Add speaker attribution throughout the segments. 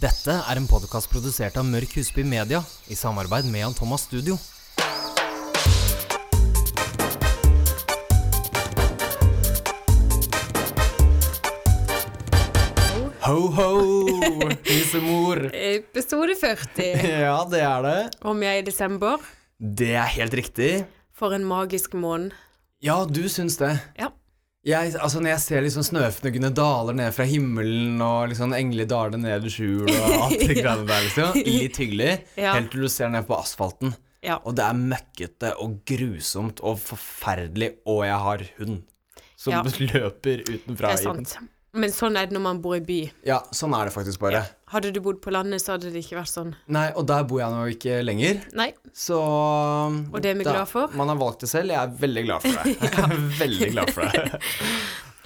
Speaker 1: Dette er en podkast produsert av Mørk Husby Media i samarbeid med Jan Thomas Studio. Ho-ho, nissemor.
Speaker 2: Episode 40.
Speaker 1: Ja, det er det.
Speaker 2: Om jeg er i desember.
Speaker 1: Det er helt riktig.
Speaker 2: For en magisk måned.
Speaker 1: Ja, du syns det.
Speaker 2: Ja.
Speaker 1: Jeg, altså Når jeg ser liksom snøfnuggene daler ned fra himmelen, og liksom engler daler ned i skjul og alt det greiene der, liksom. Litt hyggelig.
Speaker 2: Ja.
Speaker 1: Helt til du ser ned på asfalten,
Speaker 2: ja.
Speaker 1: og det er møkkete og grusomt og forferdelig, og jeg har hund som
Speaker 2: Ja.
Speaker 1: løper
Speaker 2: Det
Speaker 1: utenfra
Speaker 2: er
Speaker 1: i den.
Speaker 2: sant. Men sånn er det når man bor i by.
Speaker 1: Ja, sånn er det faktisk bare.
Speaker 2: Hadde du bodd på landet, så hadde det ikke vært sånn.
Speaker 1: Nei, og der bor jeg nå ikke lenger,
Speaker 2: Nei.
Speaker 1: så
Speaker 2: Og det er vi glad for.
Speaker 1: Man har valgt det selv. Jeg er veldig glad for det. Jeg er veldig glad for det.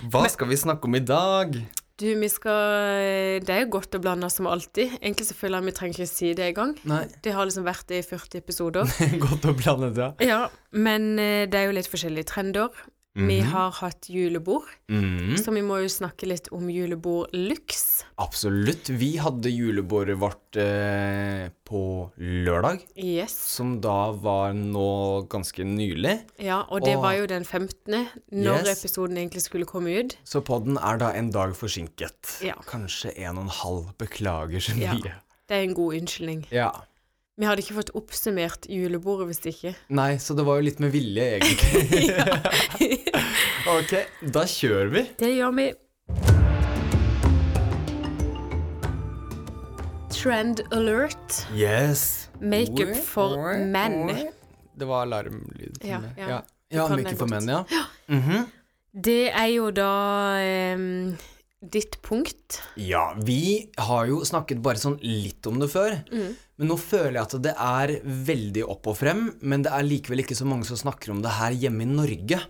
Speaker 1: Hva skal vi snakke om i dag?
Speaker 2: Du, vi skal eh, Det er jo godt å blande som alltid. Egentlig så føler jeg vi trenger ikke si det engang.
Speaker 1: Nei,
Speaker 2: Det har liksom vært det i 40 episoder.
Speaker 1: godt å blande det.
Speaker 2: Ja, men eh, det er jo litt forskjellige trender. Vi
Speaker 1: Mhm.
Speaker 2: har hatt julebord,
Speaker 1: Mm,
Speaker 2: så vi må jo snakke litt om julebord luxe.
Speaker 1: absolutt. Vi hadde julebordet vårt eh, på lørdag,
Speaker 2: Yes.
Speaker 1: som da var nå ganske nylig.
Speaker 2: Ja, og det
Speaker 1: Og-
Speaker 2: var jo den 15., når
Speaker 1: Yes.
Speaker 2: episoden egentlig skulle komme ut.
Speaker 1: Så podden er da en dag forsinket.
Speaker 2: Ja.
Speaker 1: Kanskje en og en halv. Beklager så
Speaker 2: Ja.
Speaker 1: mye.
Speaker 2: Det er en god unnskyldning.
Speaker 1: Ja.
Speaker 2: Vi hadde ikke fått oppsummert julebordet hvis ikke.
Speaker 1: Nei, så det var jo litt med vilje, egentlig. ok, da kjører vi.
Speaker 2: Det gjør vi. Trend alert.
Speaker 1: Yes.
Speaker 2: Makeup for menn.
Speaker 1: Det var alarmlyd.
Speaker 2: Ja, ja.
Speaker 1: ja.
Speaker 2: Du
Speaker 1: ja
Speaker 2: kan
Speaker 1: make
Speaker 2: det
Speaker 1: it for
Speaker 2: godt.
Speaker 1: menn, ja. Mhm.
Speaker 2: Det er jo da em, ditt punkt.
Speaker 1: Ja, vi har jo snakket bare sånn litt om det før, men nå føler jeg at det er veldig opp og frem, men det er likevel ikke så mange som snakker om det her hjemme i Norge.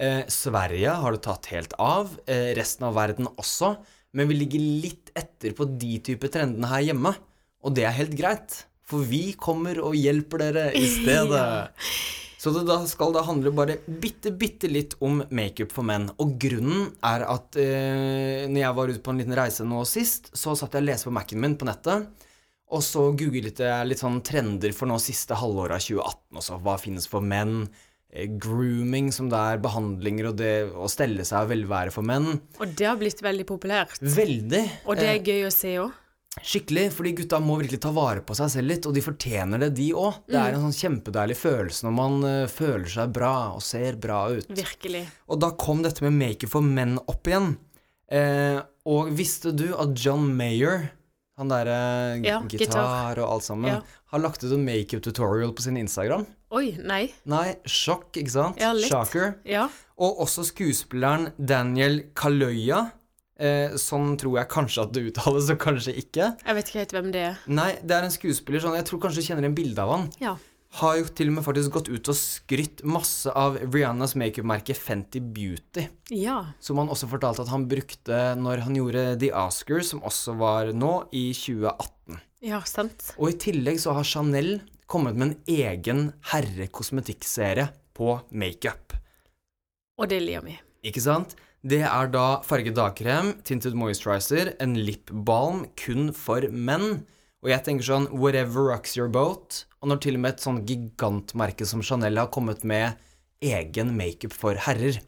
Speaker 1: Eh, Sverige har det tatt helt av, eh, resten av verden også, men vi ligger litt etter på de type trendene her hjemme, og det er helt greit, for vi kommer og hjelper dere i stedet. Så det da skal da handle bare bitte, bitte litt om makeup for menn. Og grunnen er at eh, når jeg var ute på en liten reise nå sist, så satt jeg og leste på Mac-en min på nettet, og så googlet jeg litt sånn trender for nå siste halvåret av 2018 også. Hva finnes for menn? Eh, Grooming, som det er behandlinger og det å stelle seg og velvære for menn.
Speaker 2: Og det har blitt veldig populært.
Speaker 1: Veldig. eh,
Speaker 2: Og det er gøy å se òg.
Speaker 1: Skikkelig, fordi gutta må virkelig ta vare på seg selv litt, og de fortjener det, de òg. Det
Speaker 2: Mm.
Speaker 1: er en sånn kjempedeilig følelse når man eh, føler seg bra og ser bra ut.
Speaker 2: Virkelig.
Speaker 1: Og da kom dette med Maker for menn opp igjen. Eh, og visste du at John Mayer, han derre
Speaker 2: Ja,
Speaker 1: gitar,
Speaker 2: gitar.
Speaker 1: og alt sammen,
Speaker 2: Ja.
Speaker 1: har lagt ut en makeup-tutorial på sin Instagram?
Speaker 2: Oi, nei.
Speaker 1: Nei, sjokk, ikke sant?
Speaker 2: Ja, litt.
Speaker 1: Shocker.
Speaker 2: Ja.
Speaker 1: Og også skuespilleren Daniel Kaløya. Eh, sånn tror jeg kanskje at det uttales, og kanskje ikke.
Speaker 2: Jeg vet ikke helt hvem det er.
Speaker 1: Nei, det er en skuespiller sånn, jeg tror kanskje du kjenner en bilde av han.
Speaker 2: Ja.
Speaker 1: Har jo til og med faktisk gått ut og skrytt masse av Rihannas makeup-merke Fenty Beauty.
Speaker 2: Ja.
Speaker 1: Som han også fortalte at han brukte når han gjorde The Oscars, som også var nå, i 2018.
Speaker 2: Ja, sant.
Speaker 1: Og i tillegg så har Chanel kommet med en egen herrekosmetikkserie på makeup.
Speaker 2: Og det lir vi.
Speaker 1: Ikke sant? Det er da farget dagkrem, tinted moisturizer, en lipbalm kun for menn. Og jeg tenker sånn whatever rocks your boat. Og når til og med et sånn gigantmerke som Chanel har kommet med egen makeup for herrer,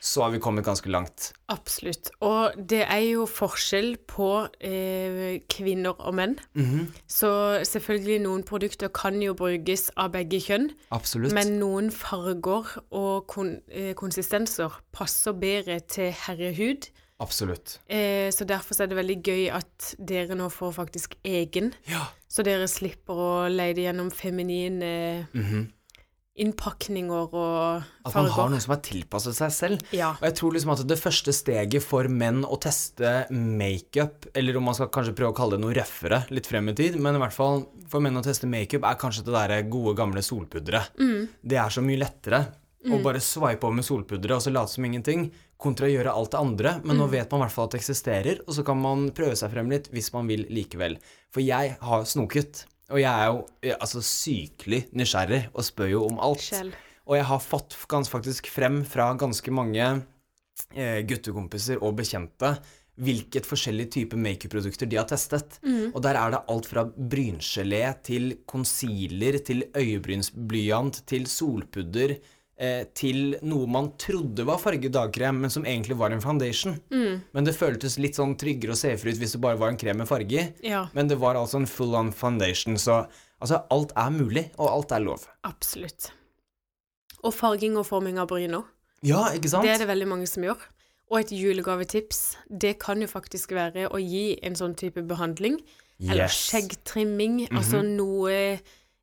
Speaker 1: så har vi kommet ganske langt.
Speaker 2: Absolutt. Og det er jo forskjell på eh, kvinner og menn.
Speaker 1: Mhm.
Speaker 2: Så selvfølgelig noen produkter kan jo brukes av begge kjønn,
Speaker 1: Absolutt.
Speaker 2: men noen farger og kon eh, konsistenser passer bedre til herrehud.
Speaker 1: Absolutt.
Speaker 2: Eh, så derfor så er det veldig gøy at dere nå får faktisk egen,
Speaker 1: Ja.
Speaker 2: så dere slipper å leide gjennom feminine innpakninger og
Speaker 1: Mhm. At man har
Speaker 2: farger.
Speaker 1: noe som er tilpasset seg selv.
Speaker 2: Ja.
Speaker 1: Og jeg tror liksom at det første steget for menn å teste makeup, eller om man skal kanskje prøve å kalle det noe røffere litt frem i tid, men i hvert fall for menn å teste makeup er kanskje det derre gode, gamle solpudderet. Det er så mye lettere å bare sveipe over med solpudderet og så late som ingenting, kontra å gjøre alt det andre. Men nå vet man i hvert fall at det eksisterer, og så kan man prøve seg frem litt hvis man vil likevel. For jeg har snoket. Og jeg er jo eh, altså, sykelig nysgjerrig og spør jo om alt.
Speaker 2: Selv.
Speaker 1: Og jeg har fått gans faktisk frem fra ganske mange eh, guttekompiser og bekjente hvilket forskjellig type makeup-produkter de har testet.
Speaker 2: Mm.
Speaker 1: Og der er det alt fra bryngelé til concealer til øyebrynsblyant til solpudder eh, til noe man trodde var farget dagkrem, men som egentlig var en foundation.
Speaker 2: Mm.
Speaker 1: Men det føltes litt sånn tryggere og safere ut hvis det bare var en krem med farge i.
Speaker 2: Ja.
Speaker 1: Men det var altså en full on foundation, så altså, alt er mulig, og alt er lov.
Speaker 2: Absolutt. Og farging og forming av bryner.
Speaker 1: Ja, ikke sant?
Speaker 2: Det er det veldig mange som gjør. Og et julegavetips, det kan jo faktisk være å gi en sånn type behandling. Eller
Speaker 1: Yes. Mhm.
Speaker 2: skjeggtrimming. Altså noe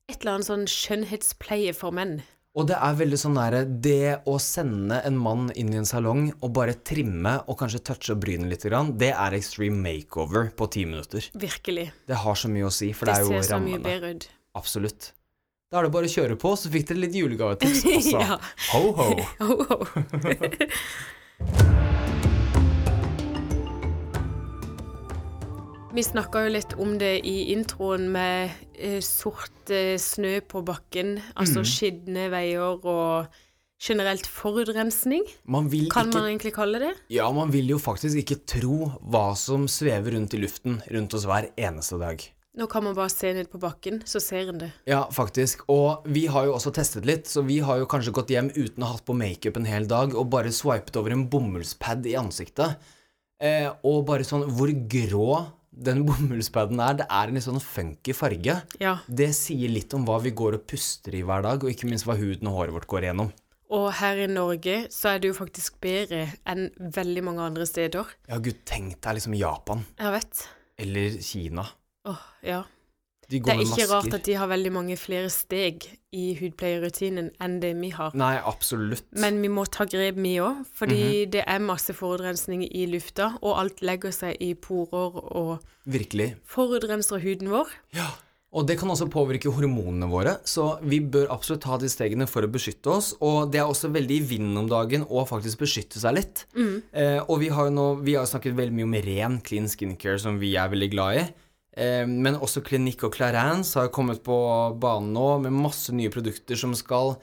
Speaker 2: Et eller annet sånn skjønnhetspleie for menn.
Speaker 1: Og det er veldig sånn nære Det å sende en mann inn i en salong og bare trimme og kanskje touche brynet litt, grann, det er extreme makeover på ti minutter.
Speaker 2: Virkelig.
Speaker 1: Det har så mye å si, for
Speaker 2: Det
Speaker 1: det, er
Speaker 2: ser
Speaker 1: jo
Speaker 2: så mye
Speaker 1: rammene.
Speaker 2: bedre ut.
Speaker 1: Absolutt. Da er det bare å kjøre på, så fikk dere litt julegavetips også.
Speaker 2: Ja.
Speaker 1: Ho-ho.
Speaker 2: Ho, ho. Vi snakka jo litt om det i introen med eh, sort eh, snø på bakken, altså skitne veier og generelt forurensning,
Speaker 1: Man vil
Speaker 2: kan
Speaker 1: ikke
Speaker 2: man egentlig kalle det.
Speaker 1: Ja, man vil jo faktisk ikke tro hva som svever rundt i luften rundt oss hver eneste dag.
Speaker 2: Nå kan man bare se ned på bakken, så ser en det.
Speaker 1: Ja, faktisk. Og vi har jo også testet litt, så vi har jo kanskje gått hjem uten å ha hatt på makeup en hel dag og bare swipet over en bomullspad i ansiktet. Eh, og bare sånn hvor grå den bomullspaden er. Det er en litt sånn funky farge.
Speaker 2: Ja.
Speaker 1: Det sier litt om hva vi går og puster i hver dag, og ikke minst hva huden og håret vårt går igjennom.
Speaker 2: Og her i Norge så er det jo faktisk bedre enn veldig mange andre steder.
Speaker 1: Ja, gud, tenk deg liksom Japan
Speaker 2: Jeg vet.
Speaker 1: eller Kina.
Speaker 2: Åh, ja.
Speaker 1: De
Speaker 2: Det
Speaker 1: går
Speaker 2: er
Speaker 1: med
Speaker 2: ikke
Speaker 1: masker.
Speaker 2: rart at de har veldig mange flere steg i hudpleierrutinen enn det vi har.
Speaker 1: Nei, absolutt.
Speaker 2: Men vi må ta grep, vi òg, fordi
Speaker 1: Mhm.
Speaker 2: det er masse forurensning i lufta, og alt legger seg i porer og
Speaker 1: Virkelig.
Speaker 2: forurenser huden vår.
Speaker 1: Ja. Og det kan også påvirke hormonene våre, så vi bør absolutt ta de stegene for å beskytte oss. Og det er også veldig i vinden om dagen å faktisk beskytte seg litt. Eh, og vi har jo nå vi har jo snakket veldig mye om ren clean skincare, som vi er veldig glad i. Eh, men også Clinique og Clarence har kommet på banen nå med masse nye produkter som skal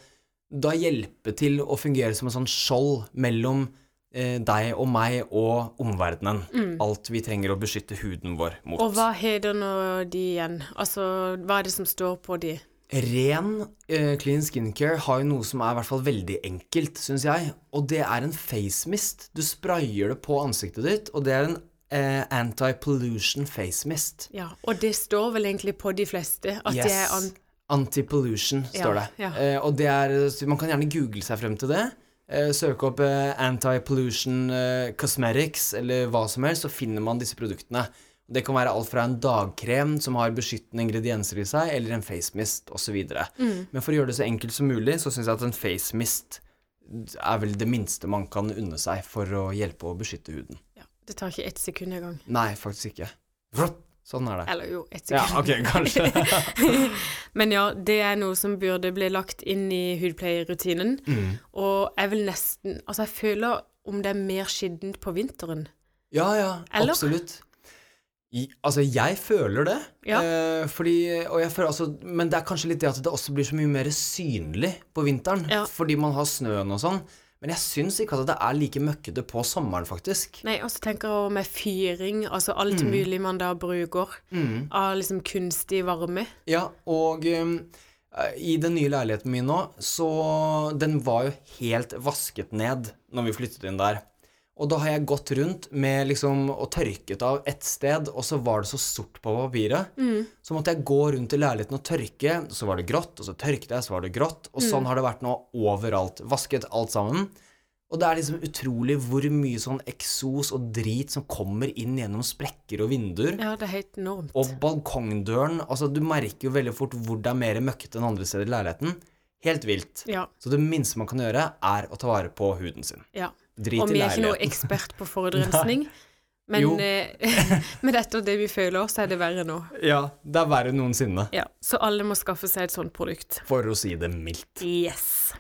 Speaker 1: da hjelpe til å fungere som en sånn skjold mellom eh, deg og meg og omverdenen. Alt vi trenger å beskytte huden vår mot.
Speaker 2: Og hva heter nå de igjen? Altså, hva er det som står på de?
Speaker 1: Ren eh, clean skincare har jo noe som er i hvert fall veldig enkelt, syns jeg. Og det er en face mist. Du sprayer det på ansiktet ditt, og det er en eh, anti-pollution face mist.
Speaker 2: Ja, og det står vel egentlig på de fleste, at det er an...
Speaker 1: Anti-pollution, står det.
Speaker 2: ja.
Speaker 1: Eh, og det er så Man kan gjerne google seg frem til det. Eh, søke opp eh, anti-pollution eh, cosmetics eller hva som helst, så finner man disse produktene. Det kan være alt fra en dagkrem som har beskyttende ingredienser i seg, eller en facemist osv. Mm. Men for å gjøre det så enkelt som mulig, så syns jeg at en facemist er vel det minste man kan unne seg for å hjelpe å beskytte huden.
Speaker 2: Ja, det tar ikke ett sekund engang.
Speaker 1: Nei, faktisk ikke. Vrott! Sånn er det.
Speaker 2: Eller jo, ett
Speaker 1: Ja,
Speaker 2: sekund.
Speaker 1: ok, kanskje.
Speaker 2: Men ja, det er noe som burde bli lagt inn i hudpleierrutinen.
Speaker 1: Mm.
Speaker 2: Og jeg vil nesten Altså, jeg føler om det er mer skittent på vinteren.
Speaker 1: Ja, ja,
Speaker 2: Eller?
Speaker 1: absolutt. I, altså, jeg føler det.
Speaker 2: Ja.
Speaker 1: Eh, fordi, og jeg føler altså, men det er kanskje litt det at det også blir så mye mer synlig på vinteren.
Speaker 2: Ja.
Speaker 1: Fordi man har snøen og sånn. Men jeg syns ikke at det er like møkkete på sommeren, faktisk.
Speaker 2: Nei, og så tenker jeg også med fyring, altså alt
Speaker 1: Mm.
Speaker 2: mulig man da bruker av liksom kunstig varme.
Speaker 1: Ja, og um, i den nye leiligheten min nå, så den var jo helt vasket ned når vi flyttet inn der. Og da har jeg gått rundt med liksom og tørket av ett sted, og så var det så sort på papiret. Så måtte jeg gå rundt i leiligheten og tørke, så var det grått, og så tørket jeg, så var det grått. Og sånn har det vært nå overalt. Vasket alt sammen. Og det er liksom utrolig hvor mye sånn eksos og drit som kommer inn gjennom sprekker og vinduer.
Speaker 2: Ja, det er helt enormt.
Speaker 1: Og balkongdøren altså Du merker jo veldig fort hvor det er mer møkkete enn andre steder i leiligheten. Helt vilt.
Speaker 2: Ja,
Speaker 1: Så det minste man kan gjøre, er å ta vare på huden sin.
Speaker 2: ja.
Speaker 1: Drit i
Speaker 2: Og vi er ikke noe
Speaker 1: leiligheten.
Speaker 2: ekspert på forurensning,
Speaker 1: Jo.
Speaker 2: men eh, med dette og det vi føler, så er det verre nå.
Speaker 1: Ja, det er verre enn noensinne.
Speaker 2: Ja, så alle må skaffe seg et sånt produkt.
Speaker 1: For å si det mildt.
Speaker 2: Yes.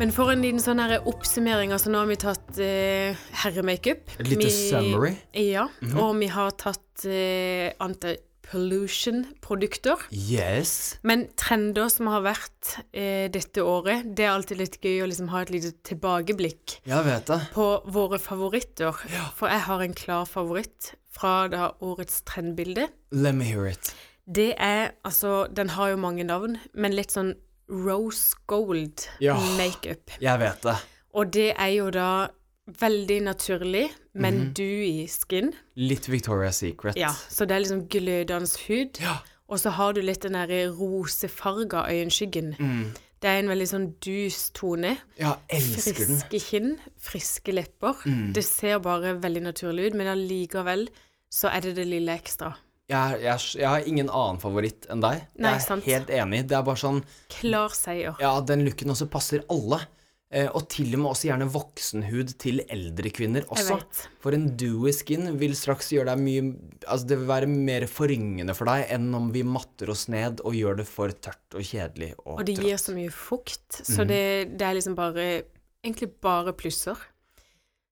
Speaker 2: Men for en liten sånn her oppsummering, altså nå har vi tatt eh, herremakeup.
Speaker 1: Et lite Mhm.
Speaker 2: vi,
Speaker 1: summary.
Speaker 2: Ja, og vi har tatt eh, anti- pollution-produkter.
Speaker 1: Yes.
Speaker 2: Men trender som har vært eh, dette året, det er alltid litt gøy å liksom ha et lite tilbakeblikk
Speaker 1: Jeg vet det.
Speaker 2: på våre favoritter. For jeg har en klar favoritt fra da årets trendbilde.
Speaker 1: Let me hear it.
Speaker 2: Det er altså Den har jo mange navn, men litt sånn rose gold
Speaker 1: Ja.
Speaker 2: makeup.
Speaker 1: Jeg vet det.
Speaker 2: Og det er jo da veldig naturlig, men dewy skin.
Speaker 1: Litt Victoria's Secret.
Speaker 2: Ja, så det er liksom glødende hud.
Speaker 1: Ja.
Speaker 2: Og så har du litt den der rosefarga øyenskyggen. Det er en veldig sånn dus tone.
Speaker 1: Ja, elsker den.
Speaker 2: Friske kinn, friske lepper. Det ser bare veldig naturlig ut, men allikevel så er det det lille ekstra.
Speaker 1: Jeg, er- jeg, er s- jeg har ingen annen favoritt enn deg.
Speaker 2: Nei,
Speaker 1: jeg er
Speaker 2: sant.
Speaker 1: helt enig. Det er bare sånn
Speaker 2: Klar seier.
Speaker 1: Ja, den looken også passer alle. Eh, og til og med også gjerne voksenhud til eldre kvinner også.
Speaker 2: vet.
Speaker 1: For en dewy skin vil straks gjøre deg mye Altså, det vil være mer foryngende for deg enn om vi matter oss ned og gjør det for tørt og kjedelig og,
Speaker 2: Og det gir så mye fukt, så det, det er liksom bare Egentlig bare plusser.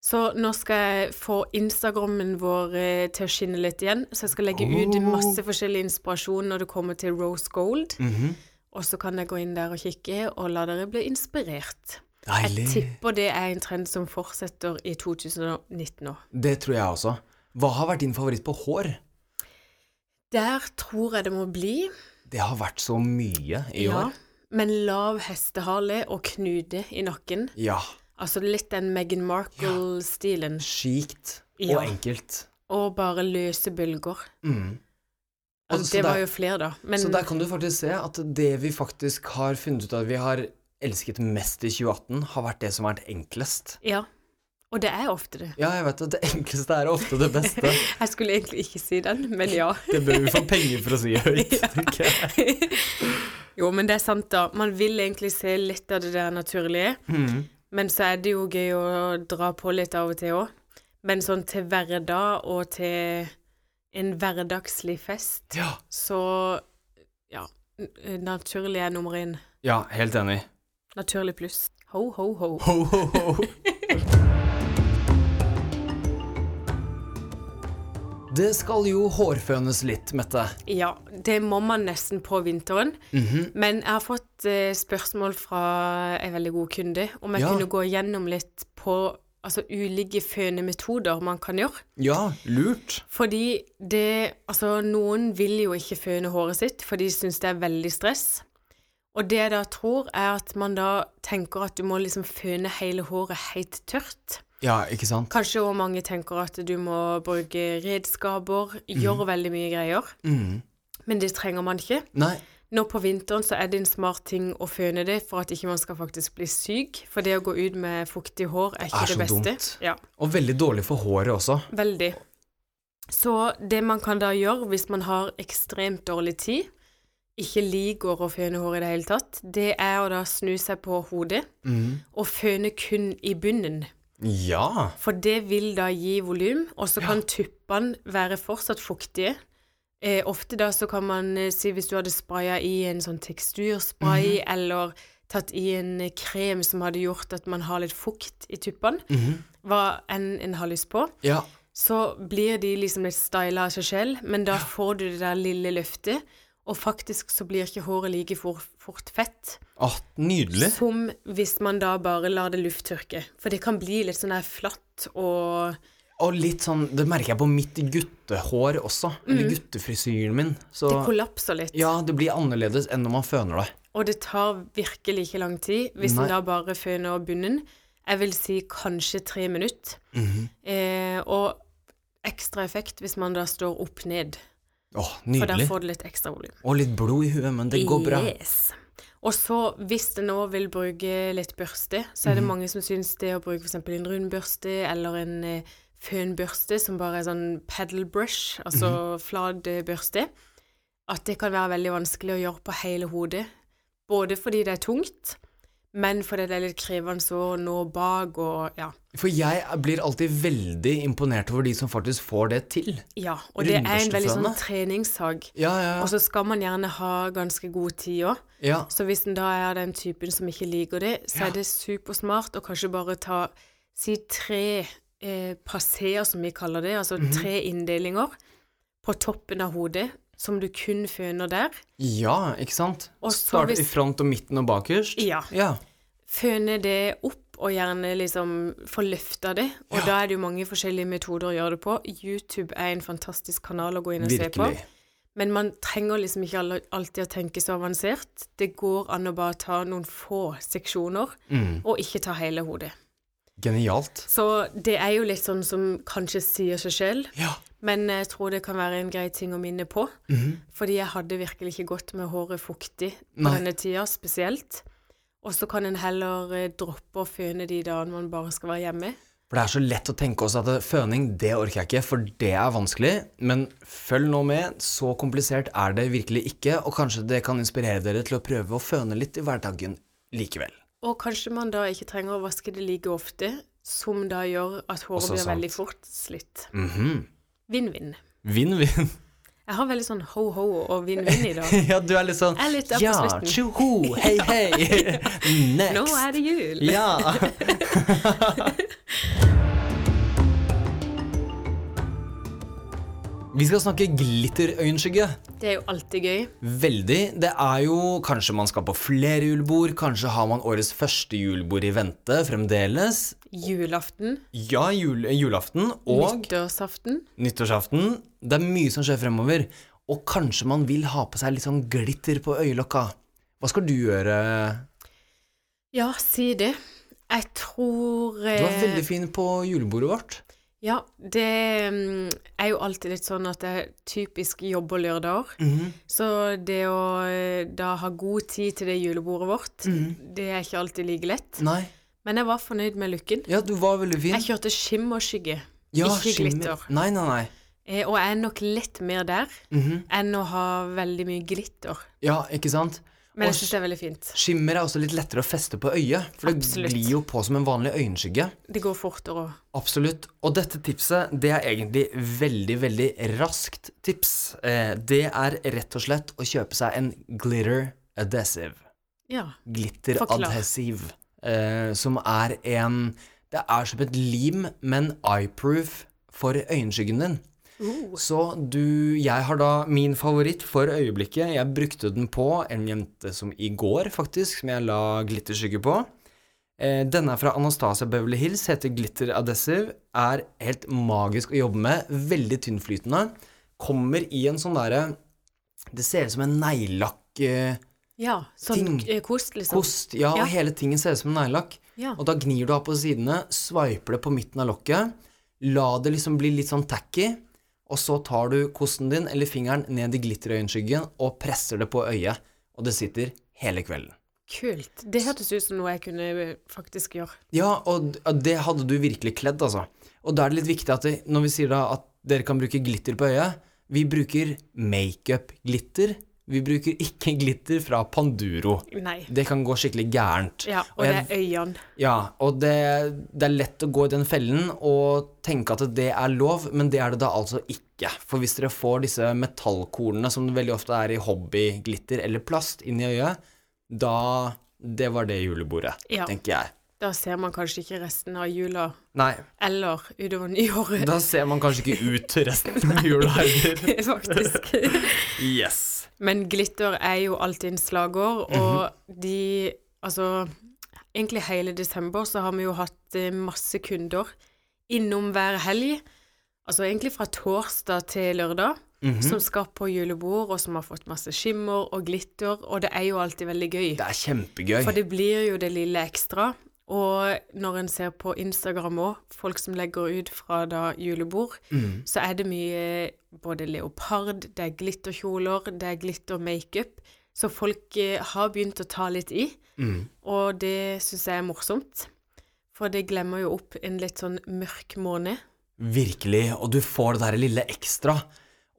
Speaker 2: Så nå skal jeg få Instagrammen vår eh, til å skinne litt igjen, så jeg skal legge ut masse forskjellig inspirasjon når det kommer til Rose Gold. Og så kan jeg gå inn der og kikke, og la dere bli inspirert. Jeg
Speaker 1: Deilig.
Speaker 2: tipper det er en trend som fortsetter i 2019 nå.
Speaker 1: Det tror jeg også. Hva har vært din favoritt på hår?
Speaker 2: Der tror jeg det må bli
Speaker 1: Det har vært så mye i
Speaker 2: ja,
Speaker 1: år.
Speaker 2: men lav hestehale og knute i nakken.
Speaker 1: Ja.
Speaker 2: Altså litt den Meghan Markle-stilen.
Speaker 1: Skikt og
Speaker 2: Ja.
Speaker 1: enkelt.
Speaker 2: Og bare løse bølger.
Speaker 1: Mm.
Speaker 2: Altså,
Speaker 1: Altså,
Speaker 2: det
Speaker 1: der-
Speaker 2: var jo flere, da. Men
Speaker 1: Så der kan du faktisk se at det vi faktisk har funnet ut at vi har elsket mest i 2018, har vært det som har vært enklest.
Speaker 2: ja. Og det er ofte det.
Speaker 1: Ja, jeg vet at det enkleste er ofte det beste.
Speaker 2: Jeg skulle egentlig ikke si den, men ja.
Speaker 1: Det bør vi få penger for å si høyt. tenker jeg.
Speaker 2: Jo, men det er sant, da. Man vil egentlig se litt av det der naturlige.
Speaker 1: Mm.
Speaker 2: Men så er det jo gøy å dra på litt av og til òg. Men sånn til hverdag og til en hverdagslig fest,
Speaker 1: Ja.
Speaker 2: så ja. n- Naturlig er nummer én.
Speaker 1: ja, helt enig.
Speaker 2: Naturlig pluss. Ho, ho, ho.
Speaker 1: Ho, ho, ho. Det skal jo hårfønes litt, Mette.
Speaker 2: Ja, det må man nesten på vinteren. Men jeg har fått eh, spørsmål fra en veldig god kunde om jeg
Speaker 1: Ja.
Speaker 2: kunne gå gjennom litt på altså, ulike fønemetoder man kan gjøre.
Speaker 1: Ja, lurt.
Speaker 2: Fordi det Altså, noen vil jo ikke føne håret sitt, for de syns det er veldig stress. Og det jeg da tror, er at man da tenker at du må liksom føne hele håret helt tørt.
Speaker 1: Ja, ikke sant?
Speaker 2: Kanskje også mange tenker at du må bruke redskaper, gjøre veldig mye greier. Men det trenger man ikke.
Speaker 1: Mm. Nei,
Speaker 2: Nå på vinteren så er det en smart ting å føne det for at ikke man skal faktisk bli syk. For det å gå ut med fuktig hår er ikke
Speaker 1: Er
Speaker 2: det,
Speaker 1: Ah, så
Speaker 2: beste.
Speaker 1: dumt.
Speaker 2: Ja,
Speaker 1: og veldig dårlig for håret også.
Speaker 2: veldig. Så det man kan da gjøre hvis man har ekstremt dårlig tid, ikke liker å føne hår i det hele tatt, det er å da snu seg på hodet
Speaker 1: Mm.
Speaker 2: og føne kun i bunnen.
Speaker 1: Ja.
Speaker 2: For det vil da gi volum, og så kan tuppene være fortsatt fuktige. Eh, ofte da så kan man eh, si hvis du hadde spraya i en sånn teksturspray, eller tatt i en eh, krem som hadde gjort at man har litt fukt i tuppene, hva enn en har lyst på,
Speaker 1: Ja.
Speaker 2: så blir de liksom litt styla av seg selv, men da får du det der lille løftet, og faktisk så blir ikke håret like for, fort fett
Speaker 1: Å, nydelig.
Speaker 2: som hvis man da bare lar det lufttørke. For det kan bli litt sånn der flatt og
Speaker 1: Og litt sånn, det merker jeg på mitt guttehår også. Eller guttefrisyren min. Så
Speaker 2: Mm. Det kollapser litt,
Speaker 1: ja, det blir annerledes enn når man føner det.
Speaker 2: og det tar virkelig ikke lang tid hvis
Speaker 1: Nei.
Speaker 2: en da bare føner bunnen. Jeg vil si kanskje tre minutter.
Speaker 1: Mhm.
Speaker 2: eh, og ekstra effekt hvis man da står opp ned,
Speaker 1: Å,
Speaker 2: for der
Speaker 1: nydelig.
Speaker 2: får du litt ekstra volum.
Speaker 1: Og litt blod i huet, men det går bra.
Speaker 2: Yes. Og så, hvis du nå vil bruke litt børste, så
Speaker 1: Mhm.
Speaker 2: er det mange som syns det å bruke f.eks. en rundbørste eller en eh, fønbørste som bare er sånn pedal brush, altså
Speaker 1: Mhm.
Speaker 2: flat eh, børste, at det kan være veldig vanskelig å gjøre på hele hodet. Både fordi det er tungt, men fordi det er litt krevende å nå bak og ja.
Speaker 1: For jeg blir alltid veldig imponert over de som faktisk får det til.
Speaker 2: ja. Og det er en veldig sånn
Speaker 1: Rundbørsteføne.
Speaker 2: treningssak.
Speaker 1: Ja, ja,
Speaker 2: Og
Speaker 1: ja.
Speaker 2: så skal man gjerne ha ganske god tid òg.
Speaker 1: ja.
Speaker 2: Så hvis en da er av den typen som ikke liker det, så er det supersmart å kanskje bare ta si tre
Speaker 1: Mhm.
Speaker 2: eh, passeer, som vi kaller det, altså tre inndelinger, på toppen av hodet, som du kun finner der.
Speaker 1: Ja, ikke sant?
Speaker 2: Og så
Speaker 1: Starte
Speaker 2: hvis-
Speaker 1: i front og midten og bakerst.
Speaker 2: Ja.
Speaker 1: Ja.
Speaker 2: Føne det opp, og gjerne liksom få løfta det. Og
Speaker 1: Ja.
Speaker 2: da er det jo mange forskjellige metoder å gjøre det på. YouTube er en fantastisk kanal å gå inn og se på.
Speaker 1: Virkelig.
Speaker 2: Men man trenger liksom ikke alle- alltid å tenke så avansert. Det går an å bare ta noen få seksjoner,
Speaker 1: Mm.
Speaker 2: og ikke ta hele hodet.
Speaker 1: Genialt.
Speaker 2: Så det er jo litt sånn som kanskje sier seg selv,
Speaker 1: Ja.
Speaker 2: men jeg tror det kan være en grei ting å minne på.
Speaker 1: Mhm.
Speaker 2: Fordi jeg hadde virkelig ikke gått med håret fuktig på
Speaker 1: Nei.
Speaker 2: denne tida spesielt. Og så kan en heller eh, droppe å føne de dagene man bare skal være hjemme.
Speaker 1: For det er så lett å tenke oss at eh, føning, det orker jeg ikke, for det er vanskelig. Men følg nå med, så komplisert er det virkelig ikke, og kanskje det kan inspirere dere til å prøve å føne litt i hverdagen likevel.
Speaker 2: Og kanskje man da ikke trenger å vaske det like ofte, som da gjør at håret
Speaker 1: Også
Speaker 2: blir
Speaker 1: sant.
Speaker 2: veldig fort slitt.
Speaker 1: Mhm.
Speaker 2: Vinn-vinn.
Speaker 1: Vinn-vinn.
Speaker 2: Jeg har veldig sånn ho-ho og vinn-vinn i dag.
Speaker 1: ja, du er litt sånn
Speaker 2: Jeg er litt der på
Speaker 1: Ja,
Speaker 2: slutten.
Speaker 1: tjoho, hei, hei. Next.
Speaker 2: Nå er det jul!
Speaker 1: Ja. Vi skal snakke glitterøyenskygge.
Speaker 2: Det er jo alltid gøy.
Speaker 1: Veldig. Det er jo Kanskje man skal på flere julebord, kanskje har man årets første julebord i vente fremdeles.
Speaker 2: Julaften,
Speaker 1: Ja, jul, julaften og
Speaker 2: nyttårsaften.
Speaker 1: nyttårsaften. Det er mye som skjer fremover. Og kanskje man vil ha på seg litt sånn glitter på øyelokka. Hva skal du gjøre?
Speaker 2: Ja, si det. Jeg tror
Speaker 1: Du var
Speaker 2: eh,
Speaker 1: veldig fin på julebordet vårt.
Speaker 2: Ja, det mm, er jo alltid litt sånn at jeg typisk jobber lørdager. Så det å eh, da ha god tid til det julebordet vårt,
Speaker 1: Mhm.
Speaker 2: det er ikke alltid like lett.
Speaker 1: Nei.
Speaker 2: Men jeg var fornøyd med looken.
Speaker 1: Ja, du var veldig fin.
Speaker 2: Jeg kjørte skimmerskygge,
Speaker 1: Ja,
Speaker 2: ikke
Speaker 1: skimmer.
Speaker 2: glitter.
Speaker 1: Nei, nei, nei.
Speaker 2: Eh, og jeg er nok litt mer der
Speaker 1: Mhm.
Speaker 2: enn å ha veldig mye glitter.
Speaker 1: Ja, ikke sant?
Speaker 2: Men
Speaker 1: Og
Speaker 2: jeg syns det er veldig fint.
Speaker 1: Skimmer er også litt lettere å feste på øyet, for det
Speaker 2: Absolutt.
Speaker 1: glir jo på som en vanlig øyenskygge.
Speaker 2: Det går fortere òg.
Speaker 1: Absolutt. Og dette tipset, det er egentlig veldig, veldig raskt tips. Eh, det er rett og slett å kjøpe seg en glitter adhesive.
Speaker 2: Ja. Forklar.
Speaker 1: Glitteradhesiv. Eh, som er en Det er som et lim, men eyeproof for øyenskyggen din. Så du Jeg har da min favoritt for øyeblikket. Jeg brukte den på en jente som i går, faktisk, som jeg la glitterskygge på. Eh, Denne er fra Anastasia Beverly Hills, heter Glitter Adhesive. Er helt magisk å jobbe med. Veldig tynnflytende. Kommer i en sånn derre Det ser ut som en neglelakk-kost.
Speaker 2: ja sånn
Speaker 1: Ting.
Speaker 2: eh, kost, liksom.
Speaker 1: Ja, og
Speaker 2: Ja.
Speaker 1: hele tingen ser ut som en neglelakk.
Speaker 2: Ja.
Speaker 1: Og da gnir du av på sidene, sveiper det på midten av lokket, la det liksom bli litt sånn tacky, og så tar du kosten din eller fingeren ned i glitterøyenskyggen og presser det på øyet, og det sitter hele kvelden.
Speaker 2: Kult. Det hørtes ut som noe jeg kunne eh, faktisk gjøre.
Speaker 1: Ja, og d- ja, det hadde du virkelig kledd, altså. Og da er det litt viktig at det, når vi sier da at dere kan bruke glitter på øyet, vi bruker makeup-glitter, vi bruker ikke glitter fra Panduro.
Speaker 2: Nei.
Speaker 1: Det kan gå skikkelig gærent.
Speaker 2: Ja,
Speaker 1: Og
Speaker 2: og det
Speaker 1: jeg-
Speaker 2: er øynene.
Speaker 1: Ja, og det, det er lett å gå i den fellen og tenke at det er lov, men det er det da altså ikke. For hvis dere får disse metallkornene som det veldig ofte er i hobbyglitter eller plast inn i øyet, da Det var det julebordet,
Speaker 2: Ja.
Speaker 1: tenker jeg.
Speaker 2: Da ser man kanskje ikke resten av jula,
Speaker 1: Nei,
Speaker 2: eller utover nyåret,
Speaker 1: da ser man kanskje ikke ut til resten av jula heller.
Speaker 2: faktisk.
Speaker 1: Yes.
Speaker 2: Men glitter er jo alltid en slagord, og
Speaker 1: Mhm.
Speaker 2: de Altså, egentlig hele desember så har vi jo hatt eh, masse kunder innom hver helg. Altså egentlig fra torsdag til lørdag,
Speaker 1: Mhm.
Speaker 2: som skal på julebord, og som har fått masse skimmer og glitter, og det er jo alltid veldig gøy.
Speaker 1: Det er kjempegøy.
Speaker 2: For det blir jo det lille ekstra. Og når en ser på Instagram òg, folk som legger ut fra da julebord, så er det mye både leopard, det er glitterkjoler, det er glittermakeup. Så folk eh, har begynt å ta litt i, og det syns jeg er morsomt. For det glemmer jo opp en litt sånn mørk måned.
Speaker 1: Virkelig, og du får det der lille ekstra.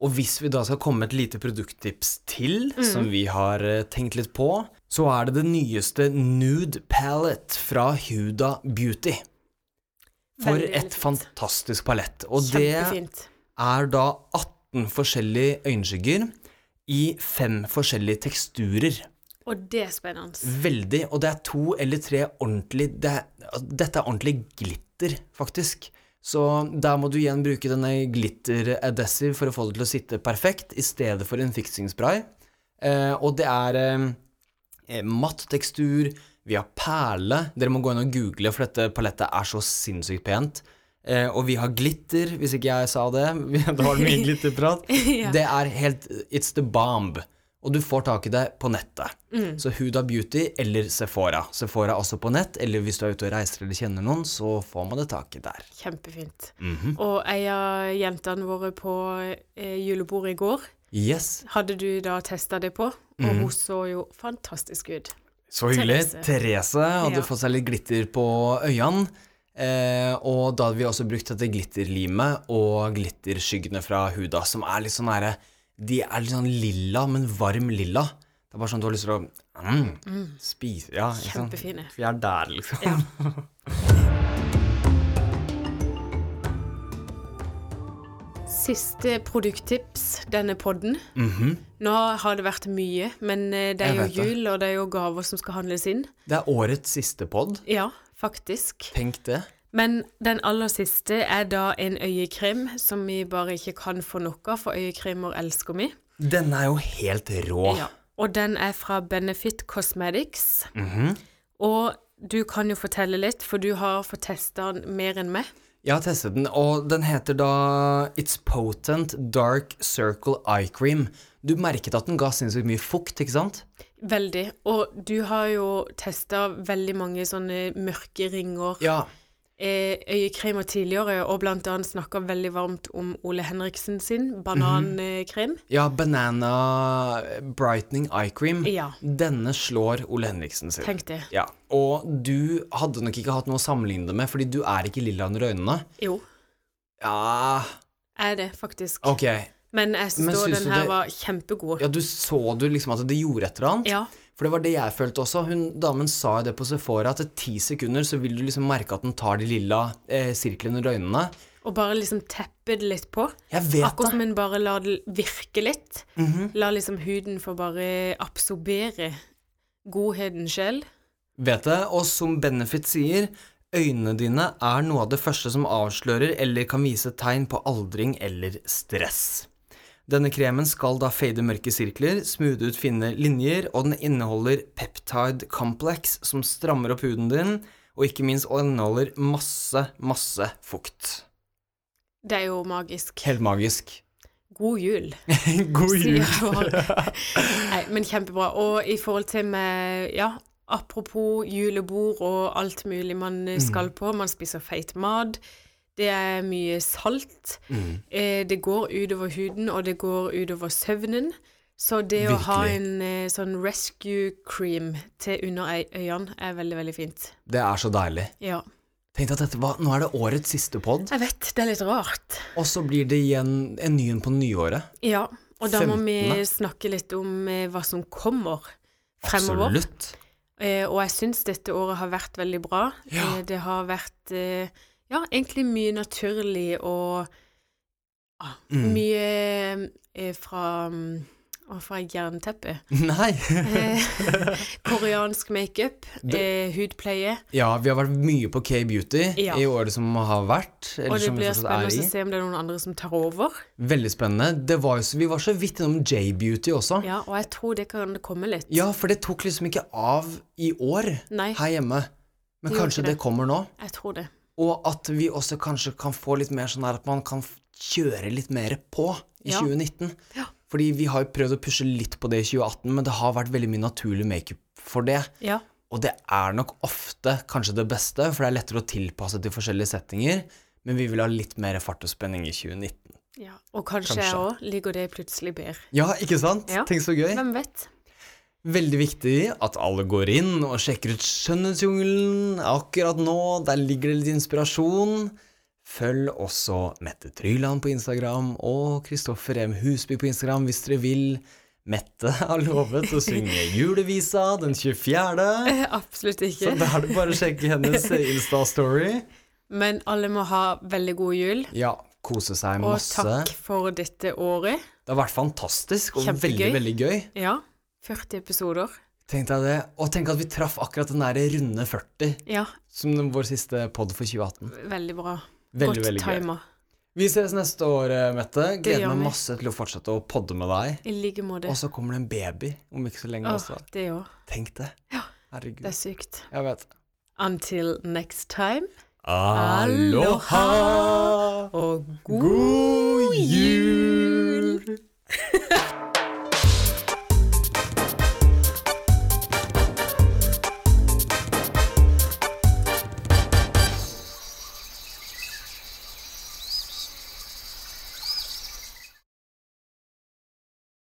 Speaker 1: Og hvis vi da skal komme med et lite produkttips til, som
Speaker 2: Mm.
Speaker 1: vi har eh, tenkt litt på, så er det det nyeste Nude Palette fra Huda Beauty. For
Speaker 2: Veldig, veldig
Speaker 1: et
Speaker 2: fint.
Speaker 1: fantastisk palett. Og det
Speaker 2: Kjempefint.
Speaker 1: er da 18 forskjellige øyenskygger i fem forskjellige teksturer.
Speaker 2: Og det er
Speaker 1: Mm.
Speaker 2: spennende.
Speaker 1: Veldig, og det er to eller tre ordentlig det er, altså, Dette er ordentlig glitter, faktisk. Så der må du igjen bruke denne glitter adhesive for å få det til å sitte perfekt, i stedet for en fixing spray. Eh, og det er eh, matt tekstur, vi har perle. Dere må gå inn og google, for dette palettet er så sinnssykt pent. Eh, og vi har glitter, hvis ikke jeg sa det. da var det mye glitterprat.
Speaker 2: Ja.
Speaker 1: Det er helt It's the bomb. Og du får tak i det på nettet. Så Huda Beauty eller Sephora. Sephora også på nett, eller hvis du er ute og reiser eller kjenner noen, så får man det tak i der.
Speaker 2: Kjempefint. Og ei av jentene våre på eh, julebordet i går
Speaker 1: Yes.
Speaker 2: hadde du da testa det på, og
Speaker 1: Mhm.
Speaker 2: hun så jo fantastisk ut.
Speaker 1: Så hyggelig.
Speaker 2: Therese.
Speaker 1: Therese, hadde
Speaker 2: Ja.
Speaker 1: fått seg litt glitter på øynene. Eh, og da hadde vi også brukt dette glitterlimet og glitterskyggene fra Huda, som er litt sånn nære De er litt sånn lilla, men varm lilla. Det er bare sånn du har lyst til å mm, spise Ja, ikke sant?
Speaker 2: Kjempefine.
Speaker 1: Vi er der, liksom.
Speaker 2: Siste produkttips denne podden. Nå har det vært mye, men eh, det er
Speaker 1: Mhm. Jeg
Speaker 2: jo
Speaker 1: vet det.
Speaker 2: jul, og det er jo gaver som skal handles inn.
Speaker 1: Det er årets siste pod.
Speaker 2: Ja, faktisk.
Speaker 1: Tenk det.
Speaker 2: Men den aller siste er da en øyekrem som vi bare ikke kan få nok av, for øyekremer elsker vi.
Speaker 1: Den er jo helt rå.
Speaker 2: Ja. Og den er fra Benefit Cosmetics.
Speaker 1: Mhm.
Speaker 2: Og du kan jo fortelle litt, for du har fått testa den mer enn meg.
Speaker 1: Jeg har testet den, og den heter da It's Potent Dark Circle Eye Cream. Du merket at den ga sinnssykt mye fukt, ikke sant?
Speaker 2: Veldig. Og du har jo testa veldig mange sånne mørke ringer,
Speaker 1: Ja.
Speaker 2: eh, øyekremer tidligere, og blant annet snakka veldig varmt om Ole Henriksen
Speaker 1: Mhm.
Speaker 2: sin banankrem.
Speaker 1: Ja, Banana Brightening Eye Cream.
Speaker 2: Ja.
Speaker 1: Denne slår Ole Henriksen sin.
Speaker 2: Tenk det.
Speaker 1: Ja, Og du hadde nok ikke hatt noe å sammenligne det med, fordi du er ikke lilla under øynene.
Speaker 2: Jo,
Speaker 1: Ja,
Speaker 2: er det faktisk.
Speaker 1: ok.
Speaker 2: Men jeg syns
Speaker 1: Men
Speaker 2: da
Speaker 1: syns
Speaker 2: den
Speaker 1: du
Speaker 2: her
Speaker 1: det-
Speaker 2: var kjempegod.
Speaker 1: Ja, du så du liksom at det gjorde et eller annet?
Speaker 2: Ja.
Speaker 1: For det var det jeg følte også. Hun, damen sa jo det på Sephora, at etter ti sekunder så vil du liksom merke at den tar de lilla eh, sirklene under øynene.
Speaker 2: Og bare liksom teppe det litt på.
Speaker 1: Jeg vet det.
Speaker 2: Akkurat som en bare lar det virke litt.
Speaker 1: Mhm.
Speaker 2: La liksom huden få bare absorbere godheten sjøl.
Speaker 1: Vet det. Og som Benefit sier, øynene dine er noe av det første som avslører eller kan vise tegn på aldring eller stress. Denne kremen skal da fade mørke sirkler, smoothe ut fine linjer, og den inneholder peptide complex som strammer opp huden din, og ikke minst inneholder masse, masse fukt.
Speaker 2: Det er jo magisk.
Speaker 1: Helt magisk.
Speaker 2: God jul,
Speaker 1: God
Speaker 2: sier vår. Nei, men kjempebra. Og i forhold til med Ja, apropos julebord og alt mulig
Speaker 1: Mm.
Speaker 2: man eh, skal på. Man spiser feit mat. Det er mye salt.
Speaker 1: Mm.
Speaker 2: Eh, det går utover huden, og det går utover søvnen. Så det å ha
Speaker 1: Virkelig.
Speaker 2: en eh, sånn rescue cream til under øy- øynene er veldig, veldig fint.
Speaker 1: Det er så deilig.
Speaker 2: Ja.
Speaker 1: Tenkte at dette var, Nå er det årets siste pod,
Speaker 2: Jeg vet, det er litt rart.
Speaker 1: og så blir det igjen en ny en på nyåret.
Speaker 2: Ja, og da må vi
Speaker 1: Femtende.
Speaker 2: snakke litt om eh, hva som kommer fremover.
Speaker 1: Absolutt.
Speaker 2: Eh, og jeg syns dette året har vært veldig bra.
Speaker 1: Ja.
Speaker 2: Eh, det har vært eh, ja, egentlig mye naturlig og ah,
Speaker 1: Mm.
Speaker 2: mye eh, fra mm, Å, fra jernteppet.
Speaker 1: Nei.
Speaker 2: Eh, koreansk makeup, eh, hudpleie.
Speaker 1: Ja, vi har vært mye på K-beauty
Speaker 2: Ja.
Speaker 1: i året som har vært.
Speaker 2: Og
Speaker 1: Eller
Speaker 2: det
Speaker 1: som vi
Speaker 2: blir
Speaker 1: liksom fortsatt
Speaker 2: spennende
Speaker 1: er
Speaker 2: å
Speaker 1: i.
Speaker 2: se om det er noen andre som tar over.
Speaker 1: Veldig spennende. Det var jo, så- vi var så vidt innom J-beauty også. Ja.
Speaker 2: Ja, Og jeg tror det kan komme litt.
Speaker 1: for det tok liksom ikke av i år
Speaker 2: Nei,
Speaker 1: her hjemme. Men
Speaker 2: Det gjorde
Speaker 1: kanskje
Speaker 2: ikke
Speaker 1: det kommer nå.
Speaker 2: jeg tror det.
Speaker 1: Og at vi også kanskje kan få litt mer sånn her at man kan f- kjøre litt mer på i
Speaker 2: Ja.
Speaker 1: 2019.
Speaker 2: Ja.
Speaker 1: Fordi vi har jo prøvd å pushe litt på det i 2018, men det har vært veldig mye naturlig makeup for det.
Speaker 2: Ja.
Speaker 1: Og det er nok ofte kanskje det beste, for det er lettere å tilpasse til forskjellige settinger. Men vi vil ha litt mer fart og spenning i 2019.
Speaker 2: ja. Og kanskje,
Speaker 1: Kanskje.
Speaker 2: jeg òg ligger det plutselig bedre.
Speaker 1: Ja, ikke sant?
Speaker 2: Ja.
Speaker 1: Tenk så gøy.
Speaker 2: Hvem vet?
Speaker 1: Veldig viktig at alle går inn og sjekker ut Skjønnhetsjungelen akkurat nå. Der ligger det litt inspirasjon. Følg også Mette Tryland på Instagram og Kristoffer M. Husby på Instagram hvis dere vil. Mette har lovet å synge julevisa den 24.,
Speaker 2: Absolutt
Speaker 1: så
Speaker 2: ikke.
Speaker 1: da er det bare å sjekke hennes Insta-story.
Speaker 2: Men alle må ha veldig god jul,
Speaker 1: Ja, kose seg
Speaker 2: og
Speaker 1: masse.
Speaker 2: takk for dette året.
Speaker 1: Det har vært fantastisk og
Speaker 2: Kjempegøy.
Speaker 1: veldig, veldig gøy.
Speaker 2: Ja, 40 episoder.
Speaker 1: Tenk deg det. Og tenk at vi traff akkurat den der runde 40
Speaker 2: Ja,
Speaker 1: som den- vår siste pod for 2018.
Speaker 2: veldig bra.
Speaker 1: Veldig,
Speaker 2: Godt
Speaker 1: veldig gøy.
Speaker 2: timer.
Speaker 1: Vi ses neste år, eh, Mette.
Speaker 2: gjør
Speaker 1: Gleder
Speaker 2: vi.
Speaker 1: meg masse til å fortsette å podde med deg.
Speaker 2: I like måte.
Speaker 1: Og så kommer det en baby om ikke så lenge
Speaker 2: Åh,
Speaker 1: også.
Speaker 2: det òg.
Speaker 1: Tenk det.
Speaker 2: Ja,
Speaker 1: Herregud.
Speaker 2: Det er sykt.
Speaker 1: Jeg vet.
Speaker 2: Until next time,
Speaker 1: Aloha
Speaker 2: og god
Speaker 1: God jul!